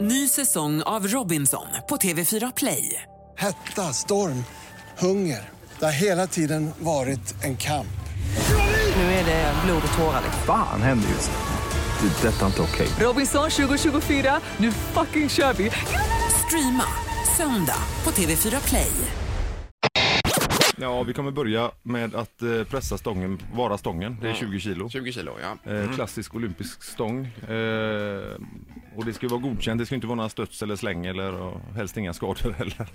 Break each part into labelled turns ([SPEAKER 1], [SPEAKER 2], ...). [SPEAKER 1] Ny säsong av Robinson på TV4 Play.
[SPEAKER 2] Hetta, storm, hunger. Det har hela tiden varit en kamp.
[SPEAKER 1] Nu är det blod och tårar. liksom.
[SPEAKER 3] Fan händer just nu. Det. är Detta är inte okej.
[SPEAKER 1] Robinson 2024, nu fucking kör vi! Streama söndag på TV4 Play.
[SPEAKER 4] Ja, vi kommer börja med att eh, pressa stången, vara stången. Det är 20 kilo.
[SPEAKER 5] 20 kilo, ja.
[SPEAKER 4] Eh, klassisk olympisk stång. Eh, och det ska ju vara godkänt, det ska ju inte vara några stöts eller släng eller och helst inga skador heller.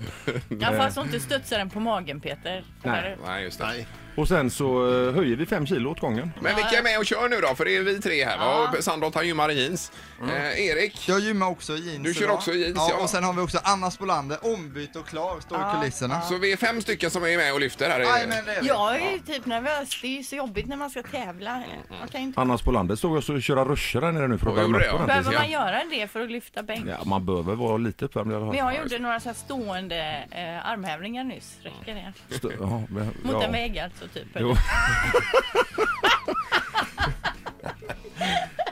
[SPEAKER 6] Ja fast inte studsa den på magen Peter.
[SPEAKER 4] Eh. Nej.
[SPEAKER 5] Nej, just det.
[SPEAKER 4] Och sen så eh, höjer vi 5 kilo åt gången.
[SPEAKER 5] Men vilka är med och kör nu då? För det är vi tre här va? Och Sandholt han gymmar i jeans. Eh, Erik,
[SPEAKER 7] Jag gymmar också i jeans
[SPEAKER 5] Du kör
[SPEAKER 7] idag.
[SPEAKER 5] också i jeans, ja.
[SPEAKER 7] ja. Och sen har vi också Anna Spolander, ombytt och klar, står i kulisserna.
[SPEAKER 5] så vi är fem stycken som är med och lyfter här.
[SPEAKER 7] Aj, men det är vi.
[SPEAKER 6] Jag är ju typ nervös. Det är ju så jobbigt när man ska tävla. Man kan ju inte...
[SPEAKER 4] Annars på landet såg jag så köra ruscher här nere nu för att
[SPEAKER 5] Ja,
[SPEAKER 4] värma upp
[SPEAKER 5] gjorde det, ja.
[SPEAKER 4] ordentligt.
[SPEAKER 6] Behöver man göra det för att lyfta bänk?
[SPEAKER 4] Ja, man behöver vara lite uppvärmd i alla
[SPEAKER 6] Men
[SPEAKER 4] fall.
[SPEAKER 6] jag gjorde några så här stående eh, armhävningar nyss. Räcker det?
[SPEAKER 4] Stö- ja, men-
[SPEAKER 6] Mot
[SPEAKER 4] ja.
[SPEAKER 6] en vägg alltså typ.
[SPEAKER 4] Jo.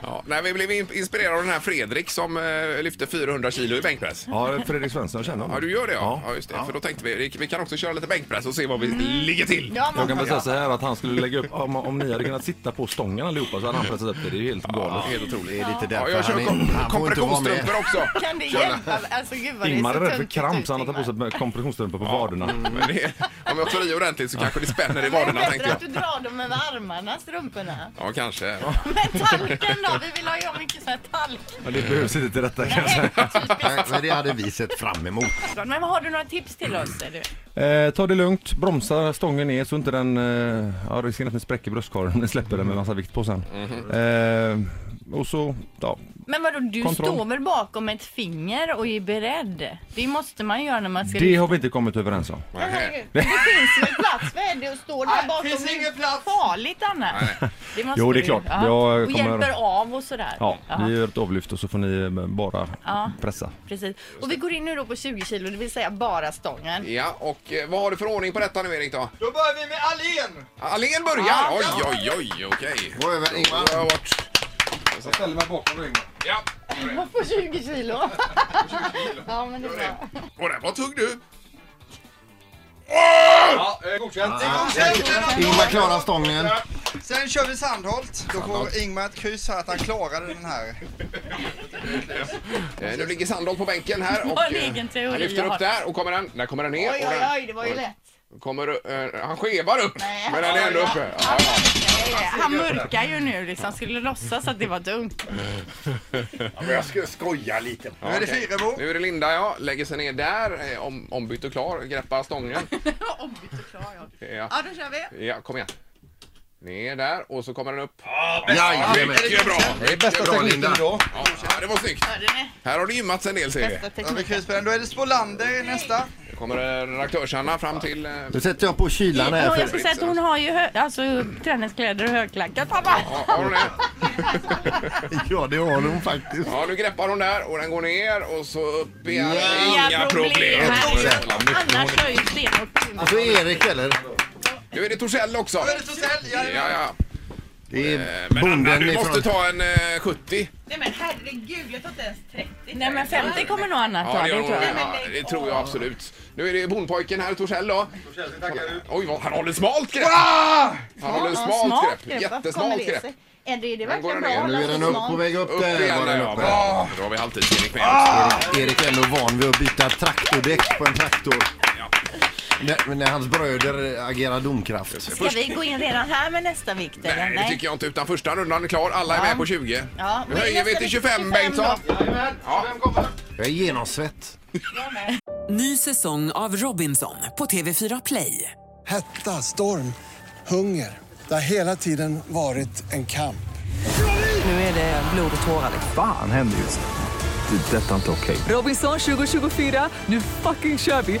[SPEAKER 5] Ja. Nej, vi blev in- inspirerade av den här Fredrik som eh, lyfte 400 kilo i bänkpress.
[SPEAKER 4] Ja, Fredrik Svensson, jag känner honom.
[SPEAKER 5] Ja, du gör det ja. Ja, just det. För då tänkte vi, vi kan också köra lite bänkpress och se vad vi ligger till.
[SPEAKER 6] Ja, man
[SPEAKER 4] Jag kan väl säga så här att han skulle lägga upp, om, om ni hade kunnat sitta på stången allihopa så hade han pressat upp det. Det är ju helt galet.
[SPEAKER 5] Helt otroligt.
[SPEAKER 8] Det är lite
[SPEAKER 5] Ja,
[SPEAKER 8] därför
[SPEAKER 5] jag
[SPEAKER 8] han,
[SPEAKER 5] kör
[SPEAKER 8] är,
[SPEAKER 5] kom-
[SPEAKER 8] han får inte vara med.
[SPEAKER 5] kompressionsstrumpor också.
[SPEAKER 6] Kan det hjälpa? Alltså gud vad det är
[SPEAKER 4] Ingmar
[SPEAKER 6] så
[SPEAKER 4] är rädd för
[SPEAKER 6] tungt typ
[SPEAKER 4] kramp
[SPEAKER 6] ut,
[SPEAKER 4] så han har tagit på
[SPEAKER 6] Ingmar.
[SPEAKER 4] sig kompressionsstrumpor på vaderna.
[SPEAKER 5] Men det, om jag tar i ordentligt så kanske det spänner i
[SPEAKER 6] Men
[SPEAKER 5] vaderna tänkte
[SPEAKER 6] bättre att du
[SPEAKER 5] jag.
[SPEAKER 6] drar dem över armarna, strumporna.
[SPEAKER 5] Ja, kanske.
[SPEAKER 6] Men talken då? Vi vill ha ju mycket sån här talk.
[SPEAKER 4] Men det behövs inte till detta kanske.
[SPEAKER 8] Nej, Men det hade vi sett fram emot.
[SPEAKER 6] Men har du några tips till oss? Eller?
[SPEAKER 4] Eh, ta det lugnt, bromsa stången ner så inte den, eh, ja risken att ni spräcker bröstkorgen om ni släpper den med massa vikt på sen. Eh, och så, ja,
[SPEAKER 6] Men vadå, du
[SPEAKER 4] Kontroll.
[SPEAKER 6] står väl bakom ett finger och är beredd? Det måste man göra när man ska... liksom-
[SPEAKER 4] det har vi inte kommit överens om.
[SPEAKER 5] Nej.
[SPEAKER 6] Det finns väl plats för det att stå där
[SPEAKER 7] Nej,
[SPEAKER 6] bakom?
[SPEAKER 7] finns
[SPEAKER 6] Det är
[SPEAKER 7] ingen plats.
[SPEAKER 6] farligt annars. Det måste
[SPEAKER 4] Jo, det är
[SPEAKER 6] du-
[SPEAKER 4] klart.
[SPEAKER 6] ja.
[SPEAKER 4] Jag
[SPEAKER 6] Och
[SPEAKER 4] kommer-
[SPEAKER 6] hjälper av och sådär.
[SPEAKER 4] Ja,
[SPEAKER 6] Jaha,
[SPEAKER 4] vi gör ett avlyft och så får ni eh, bara
[SPEAKER 6] Ja.
[SPEAKER 4] pressa.
[SPEAKER 6] Precis. Och vi går in nu då på 20 kilo, det vill säga bara stången.
[SPEAKER 5] Ja, och eh, vad har du för ordning på detta nu Erik då?
[SPEAKER 7] Då börjar vi med Alén!
[SPEAKER 5] Allén börjar! Oj, oj, oj, okej.
[SPEAKER 8] Gå över, Ingmar.
[SPEAKER 5] Då har jag varit-
[SPEAKER 7] Jag ställer mig bakom ryggen.
[SPEAKER 5] Ja,
[SPEAKER 6] Och på 20 kilo. ja, men det är bra.
[SPEAKER 5] och där var tugg du.
[SPEAKER 7] Ja, eh, godkänt. Det är godkänt. Den har
[SPEAKER 8] Ingmar
[SPEAKER 7] klarat.
[SPEAKER 8] klarar stången.
[SPEAKER 7] Sen kör vi Sandholt. Då får Ingmar ett kryss här att han klarade den här.
[SPEAKER 5] Eh, Nu ligger Sandholt på bänken här och
[SPEAKER 6] Vad en
[SPEAKER 5] eh,
[SPEAKER 6] egen teori
[SPEAKER 5] han lyfter
[SPEAKER 6] jag
[SPEAKER 5] upp
[SPEAKER 6] har.
[SPEAKER 5] där och kommer den, där kommer den ner.
[SPEAKER 6] Oj,
[SPEAKER 5] och
[SPEAKER 6] oj,
[SPEAKER 5] den
[SPEAKER 6] oj, det var ju lätt.
[SPEAKER 5] Kommer, eh, han skevar upp, men den är ändå
[SPEAKER 6] ja.
[SPEAKER 5] uppe. Ja, ja.
[SPEAKER 6] Han mörkar ju nu liksom, skulle låtsas att det var dumt.
[SPEAKER 8] Jag ska skoja lite.
[SPEAKER 7] Nu är det
[SPEAKER 5] Okej.
[SPEAKER 7] Fyrebo.
[SPEAKER 5] Nu är det Linda, ja. Lägger sig ner där, eh, om, ombytt och klar, greppar stången.
[SPEAKER 6] Ombytt och klar, ja.
[SPEAKER 5] Ja,
[SPEAKER 6] Ja, då kör vi.
[SPEAKER 5] ja kom igen. Ner där och så kommer den upp.
[SPEAKER 8] Jajamän.
[SPEAKER 5] Mycket bra!
[SPEAKER 7] Det är bästa tekniken idag.
[SPEAKER 5] Ja, det var snyggt.
[SPEAKER 6] Hörde ni?
[SPEAKER 5] Här har det gymmats en del ser vi.
[SPEAKER 6] Bästa
[SPEAKER 7] Då har vi
[SPEAKER 6] teknik.
[SPEAKER 7] kryss på den. Då är det Spolander i nästa.
[SPEAKER 5] Nu kommer eh, redaktörs-Hanna fram till... eh,
[SPEAKER 8] Nu sätter jag på kylan här.
[SPEAKER 6] Ja, jag ska
[SPEAKER 8] För...
[SPEAKER 6] säga att hon har ju hö- alltså, träningskläder och högklackat. Pappa!
[SPEAKER 5] Ja, har hon det?
[SPEAKER 8] Ja, det har hon faktiskt.
[SPEAKER 5] Ja, nu greppar hon där och den går ner och så upp igen.
[SPEAKER 6] Inga problem. Herregud.
[SPEAKER 8] Jävla
[SPEAKER 6] Annars kör ju stenhårt.
[SPEAKER 8] Alltså Erik eller?
[SPEAKER 5] Nu är det Torssell också.
[SPEAKER 7] Då är det Tosell.
[SPEAKER 5] Ja, ja.
[SPEAKER 8] Det
[SPEAKER 5] Eh,
[SPEAKER 8] är
[SPEAKER 5] Men Anna,
[SPEAKER 8] bonden
[SPEAKER 5] du måste
[SPEAKER 8] ifrån...
[SPEAKER 5] ta en eh, 70.
[SPEAKER 6] Nej men herregud, jag tar inte ens 30. Nej men 50 kommer nog annat
[SPEAKER 5] Ja,
[SPEAKER 6] ta,
[SPEAKER 5] det, gör
[SPEAKER 6] det
[SPEAKER 5] hon.
[SPEAKER 6] tror jag.
[SPEAKER 5] ja, det tror jag absolut. Nu är det bondpojken här, Torssell då.
[SPEAKER 7] tackar
[SPEAKER 5] Oj, vad, han håller smalt grepp! Han håller smalt grepp. Jättesmalt grepp.
[SPEAKER 6] Är det, det
[SPEAKER 5] går
[SPEAKER 6] verkligen
[SPEAKER 5] den ner.
[SPEAKER 6] bra?
[SPEAKER 8] Nu är den upp, på väg upp.
[SPEAKER 5] Upp
[SPEAKER 8] där
[SPEAKER 5] igen
[SPEAKER 8] var
[SPEAKER 5] där,
[SPEAKER 8] den
[SPEAKER 5] ja.
[SPEAKER 8] uppe.
[SPEAKER 5] Bra! Ah! Då har vi halvtids Erik med oss.
[SPEAKER 8] Ah, Erik är ändå van vid att byta traktordäck på en traktor. När, men när hans bröder agerar domkraft.
[SPEAKER 6] Ska vi gå in redan här med nästa vikt eller?
[SPEAKER 5] Nej, det tycker jag inte. Utan första rundan är klar. Alla är med på 20.
[SPEAKER 6] Ja,
[SPEAKER 5] Nu
[SPEAKER 6] men
[SPEAKER 5] höjer
[SPEAKER 6] nästa
[SPEAKER 5] vi till
[SPEAKER 6] vikt
[SPEAKER 5] 25,
[SPEAKER 6] 25
[SPEAKER 5] Bengtsson. Ja.
[SPEAKER 8] Jag är genomsvett.
[SPEAKER 1] Ny säsong av Robinson på TV4 Play.
[SPEAKER 2] Hetta, storm, hunger. Det har hela tiden varit en kamp.
[SPEAKER 1] Nu är det blod och tårar. liksom.
[SPEAKER 3] Fan händer just nu. Det. är Detta är inte okej.
[SPEAKER 1] Robinson 2024, nu fucking kör vi!